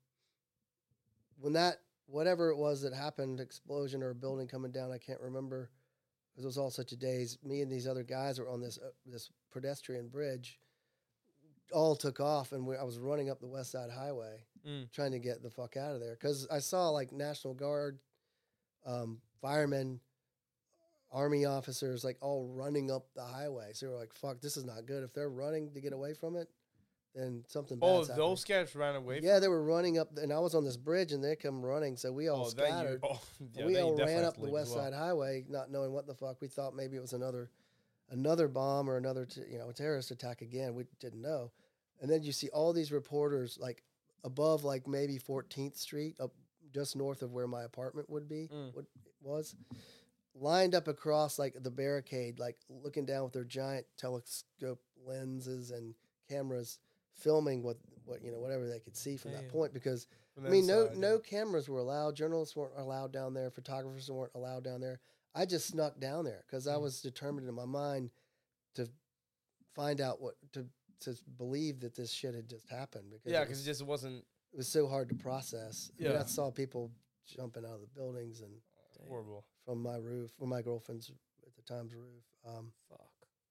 Speaker 5: when that whatever it was that happened, explosion or a building coming down, I can't remember because it was all such a daze. Me and these other guys were on this uh, this pedestrian bridge. All took off, and we, I was running up the West Side Highway
Speaker 3: Mm.
Speaker 5: trying to get the fuck out of there because I saw like National Guard, um, firemen, army officers like all running up the highway. So we we're like, fuck, this is not good. If they're running to get away from it, then something.
Speaker 4: oh,
Speaker 5: bad's happening.
Speaker 4: those cats ran away.
Speaker 5: Yeah, they were running up, and I was on this bridge, and they come running. So we all
Speaker 4: oh, then you,
Speaker 5: scattered.
Speaker 4: *laughs* oh, yeah,
Speaker 5: we
Speaker 4: then you
Speaker 5: all
Speaker 4: definitely
Speaker 5: ran
Speaker 4: have
Speaker 5: up
Speaker 4: to
Speaker 5: the
Speaker 4: leave
Speaker 5: West
Speaker 4: as well.
Speaker 5: Side Highway, not knowing what the fuck. We thought maybe it was another, another bomb or another, t- you know, terrorist attack again. We didn't know. And then you see all these reporters like above, like maybe 14th Street, up just north of where my apartment would be,
Speaker 4: Mm.
Speaker 5: what it was, lined up across like the barricade, like looking down with their giant telescope lenses and cameras, filming what, what you know, whatever they could see from
Speaker 3: Damn.
Speaker 5: that point because
Speaker 4: From
Speaker 5: I
Speaker 4: the
Speaker 5: mean, no
Speaker 4: inside, yeah.
Speaker 5: no cameras were allowed. Journalists weren't allowed down there. Photographers weren't allowed down there. I just snuck down there because
Speaker 4: Mm.
Speaker 5: I was determined in my mind to find out what to to believe that this shit had just happened because
Speaker 4: Yeah,
Speaker 5: it,
Speaker 4: because
Speaker 5: was,
Speaker 4: it just wasn't
Speaker 5: it was so hard to process. I, mean, I
Speaker 4: Yeah.
Speaker 5: saw people jumping out of the buildings and
Speaker 4: horrible.
Speaker 5: from my roof, from my girlfriend's at the time's roof. Um,
Speaker 3: Fuck.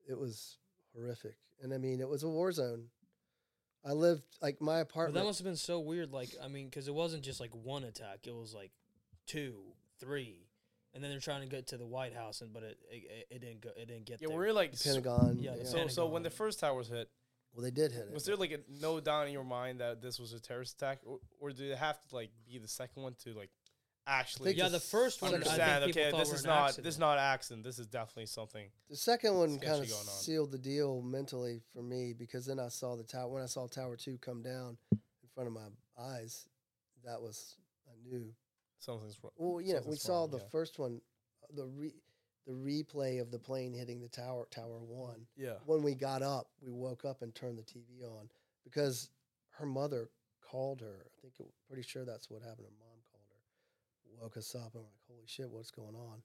Speaker 5: it was horrific, and I mean, it was a war zone. I lived like
Speaker 3: But
Speaker 5: my
Speaker 3: that
Speaker 5: apartment.
Speaker 3: must have been so weird. Like I mean, because it wasn't just like one attack; it was like two, three, and then they're trying to get to the White House, and but it it, it didn't go. It didn't get
Speaker 4: Yeah,
Speaker 3: there.
Speaker 4: we're like s-
Speaker 5: Pentagon.
Speaker 3: Yeah, the
Speaker 5: yeah.
Speaker 4: So, so when the
Speaker 3: Pentagon.
Speaker 4: first towers hit,
Speaker 5: well, they did hit it.
Speaker 4: was there like a no doubt in your mind that this was a terrorist attack, or, or did it have to like be the second one to like actually?
Speaker 5: think
Speaker 3: yeah,
Speaker 5: it's-
Speaker 3: the first one. I think
Speaker 4: understand.
Speaker 3: people
Speaker 4: Okay,
Speaker 3: thought
Speaker 4: this
Speaker 3: were
Speaker 4: is
Speaker 3: an
Speaker 4: not
Speaker 3: accident.
Speaker 4: this is not accident. This is definitely something.
Speaker 5: The second one
Speaker 4: sketchy
Speaker 5: kind of
Speaker 4: going on.
Speaker 5: sealed the deal mentally for me because then I saw the tower when I saw Tower Two come down in front of my eyes. That was I knew.
Speaker 4: Something's wrong.
Speaker 5: Well, you know, we
Speaker 4: Something's
Speaker 5: saw
Speaker 4: wrong,
Speaker 5: the
Speaker 4: yeah.
Speaker 5: first one, uh, the re, the replay of the plane hitting the tower, Tower One.
Speaker 4: Yeah.
Speaker 5: When we got up, we woke up and turned the TV on because her mother called her. I think it, pretty sure that's what happened. Her mom called her, woke us up, and we're like, "Holy shit, what's going on?"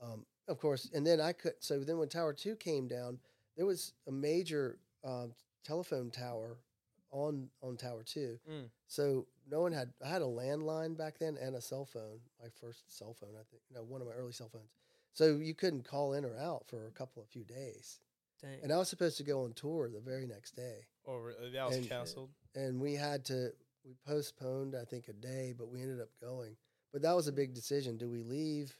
Speaker 5: Um, of course, and then I could. So then, when Tower Two came down, there was a major um, telephone tower on on Tower Two.
Speaker 4: Mm.
Speaker 5: So no one had. I had a landline back then and a cell phone. My first cell phone, I think. No, one of my early cell phones. So you couldn't call in or out for a couple of few days.
Speaker 3: Dang.
Speaker 5: And I was supposed to go on tour the very next day
Speaker 4: Or re- uh, that was
Speaker 5: And-
Speaker 4: canceled.
Speaker 5: and we had to we postponed I think a day, but we ended up going. But that was a big decision. Do we leave?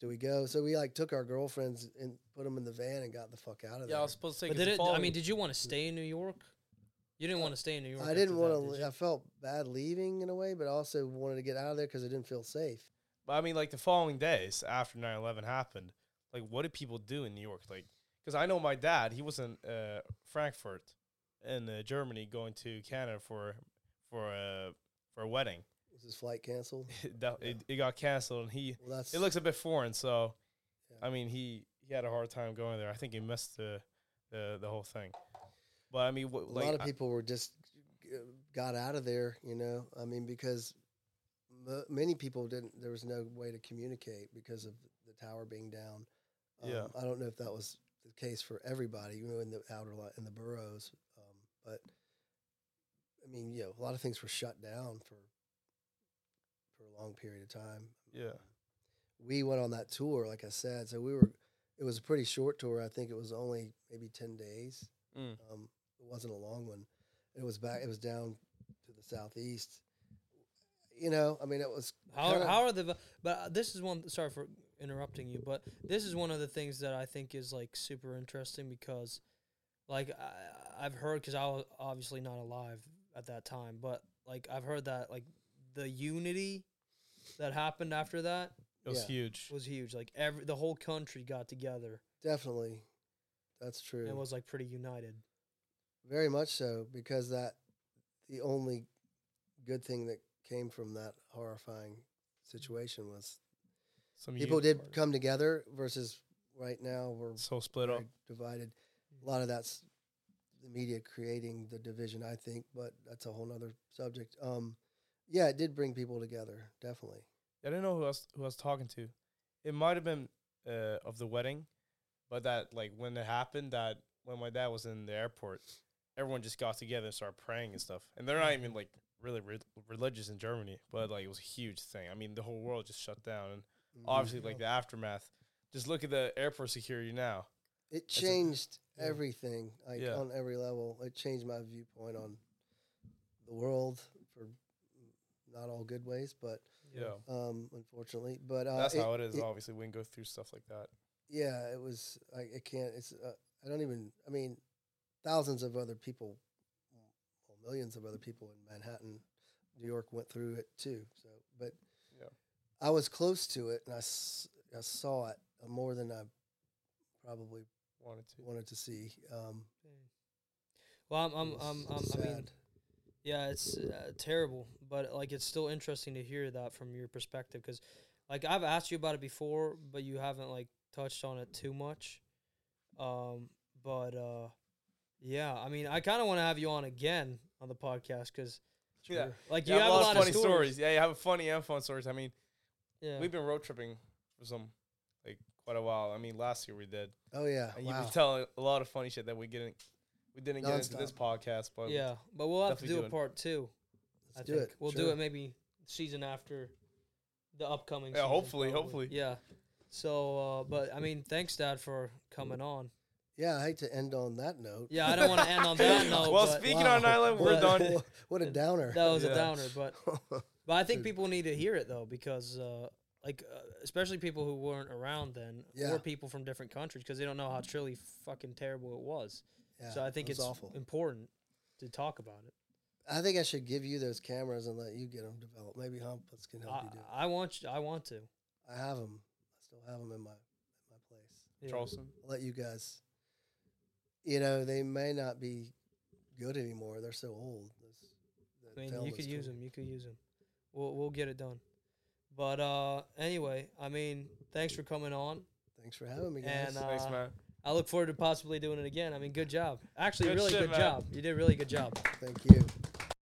Speaker 5: Do we go? So we like took our girlfriends and put them in the van and got the fuck out of
Speaker 4: Yeah, I
Speaker 5: there.
Speaker 4: was supposed to take.
Speaker 3: but
Speaker 4: it
Speaker 3: did
Speaker 4: the
Speaker 3: it? I
Speaker 4: following-
Speaker 3: mean, did you want to stay in New York?
Speaker 4: Uh,
Speaker 3: You didn't want to stay in New York.
Speaker 5: I didn't want
Speaker 3: want
Speaker 5: to. I felt bad leaving in a way, but I also wanted to get out of there because I didn't feel safe.
Speaker 4: But I mean, like the following days after 9 11 happened, like what did people do in New York? Like, because I know my dad, he was in uh, Frankfurt in uh, Germany going to Canada for for a, for a wedding.
Speaker 5: Was his
Speaker 4: *laughs*
Speaker 5: flight canceled?
Speaker 4: It, that- it, it got canceled, and he,
Speaker 5: Well, that's
Speaker 4: it looks a bit foreign. So,
Speaker 5: Yeah.
Speaker 4: I mean, he, he had a hard time going there. I think he missed the, the, the whole thing. But I mean, what,
Speaker 5: a
Speaker 4: like,
Speaker 5: lot of
Speaker 4: I-
Speaker 5: people were just uh, got out of there. You know, I mean, because m- many people didn't. There was no way to communicate because of the tower being down. Um,
Speaker 4: Yeah.
Speaker 5: I don't know if that was the case for everybody, you know, in the outer li- in the boroughs, um, but I mean, you know, a lot of things were shut down for for a long period of time.
Speaker 4: yeah,
Speaker 5: We went on that tour, like I said, so we were it was a pretty short tour. I think it was only maybe ten days.
Speaker 4: Mm.
Speaker 5: Um, it wasn't a long one. It was back. It was down to the southeast. You know, I mean, it was
Speaker 3: How,
Speaker 5: kinda-
Speaker 3: how are the but this is one sorry for interrupting you but this is one of the things that I think is like super interesting because like I, I've heard because I was obviously not alive at that time but like I've heard that like the unity that happened after that
Speaker 4: It was
Speaker 5: Yeah.
Speaker 4: huge.
Speaker 3: was huge like every the whole country got together
Speaker 5: definitely. That's true.
Speaker 3: and was like pretty united
Speaker 5: Very much so, because that the only good thing that came from that horrifying situation was
Speaker 4: Some
Speaker 5: people
Speaker 4: huge
Speaker 5: did
Speaker 4: party.
Speaker 5: come together. Versus right now, we're
Speaker 4: so split up.
Speaker 5: very divided. A lot of that's the media creating the division, I think, but that's a whole nother subject. Um, yeah, it did bring people together, definitely.
Speaker 4: I didn't know who else who I was talking to. It might have been uh, of the wedding, but that like when it happened, that when my dad was in the airport, everyone just got together and started praying and stuff. And they're not even like really re- religious in Germany, but like it was a huge thing. I mean, the whole world just shut down, and
Speaker 5: Mm-hmm.
Speaker 4: obviously like the aftermath. Just look at the airport security now.
Speaker 5: it
Speaker 4: a-
Speaker 5: changed
Speaker 4: yeah.
Speaker 5: everything, like
Speaker 4: Yeah.
Speaker 5: on every level. It changed my viewpoint on the world for not all good ways, but
Speaker 4: Yeah,
Speaker 5: um, unfortunately, but uh,
Speaker 4: that's
Speaker 5: it-
Speaker 4: how it is.
Speaker 5: it-
Speaker 4: obviously, we can go through stuff like that.
Speaker 5: yeah, it was. I, I can't. It's. Uh, I don't even. I mean, thousands of other people, well, millions of other people in Manhattan, New York went through it too. So, but
Speaker 4: Yeah.
Speaker 5: I was close to it, and I, s- I saw it more than I probably
Speaker 4: Wanted to.
Speaker 5: wanted to see. Um,
Speaker 3: well I'm I'm,
Speaker 5: it was
Speaker 3: I'm, I'm Um, I mean
Speaker 5: sad.
Speaker 3: Yeah, it's uh, terrible, but like it's still interesting to hear that from your perspective because, like, I've asked you about it before, but you haven't like touched on it too much. Um, but uh, yeah, I mean, I kind of want to have you on again on the podcast because,
Speaker 4: Yeah,
Speaker 3: like,
Speaker 4: yeah,
Speaker 3: you
Speaker 4: I
Speaker 3: have a lot
Speaker 4: funny
Speaker 3: of stories.
Speaker 4: Yeah, you have funny and fun stories. I mean,
Speaker 3: Yeah,
Speaker 4: We've been road tripping for some like quite a while. I mean, last year we did,
Speaker 5: Oh yeah,
Speaker 4: and
Speaker 5: wow.
Speaker 4: you can tell a lot of funny shit that we didn't we didn't get into this podcast, but we-
Speaker 3: yeah, but we'll have to
Speaker 4: definitely
Speaker 3: do a
Speaker 4: doing-
Speaker 3: part two.
Speaker 5: Let's
Speaker 3: I
Speaker 5: do
Speaker 3: think
Speaker 5: it.
Speaker 3: we'll do
Speaker 5: Sure.
Speaker 3: it maybe season after the upcoming.
Speaker 4: Yeah,
Speaker 3: season,
Speaker 4: hopefully,
Speaker 3: probably.
Speaker 4: hopefully.
Speaker 3: Yeah. So, uh, but I mean, thanks, Dad, for coming on.
Speaker 5: Yeah, I hate to end on that note.
Speaker 3: Yeah, I don't want to end
Speaker 4: *laughs*
Speaker 3: on that note.
Speaker 4: well,
Speaker 3: but
Speaker 4: speaking on island, we're
Speaker 5: what-
Speaker 4: done.
Speaker 5: *laughs* What a downer.
Speaker 3: that was a
Speaker 4: Yeah.
Speaker 3: downer, but but I think people need to hear it though because uh, like uh, especially people who weren't around then
Speaker 5: Yeah.
Speaker 3: or people from different countries because they don't know how truly fucking terrible it was.
Speaker 5: *laughs* Yeah,
Speaker 3: so I think
Speaker 5: it was
Speaker 3: it's
Speaker 5: awful.
Speaker 3: important to talk about it.
Speaker 5: I think I should give you those cameras and let you get them developed. Maybe Humpus can help you do.
Speaker 3: I, I want you, I want to.
Speaker 5: it. I have them. I still have them in my in my place.
Speaker 3: Yeah.
Speaker 4: Charleston.
Speaker 5: I'll let you guys. You know they may not be good anymore. They're so old. Those- that
Speaker 3: I mean,
Speaker 5: film
Speaker 3: you
Speaker 5: is
Speaker 3: could use
Speaker 5: true.
Speaker 3: them. You could use them. We'll we'll get it done. But uh, anyway, I mean, thanks for coming on,
Speaker 5: Thanks for having me, guys.
Speaker 3: and uh,
Speaker 4: Thanks, man.
Speaker 3: I look forward to possibly doing it again. I mean, good job. Actually,
Speaker 4: Good
Speaker 3: really
Speaker 4: shit,
Speaker 3: good
Speaker 4: man.
Speaker 3: job. You did a really good job.
Speaker 5: Thank you.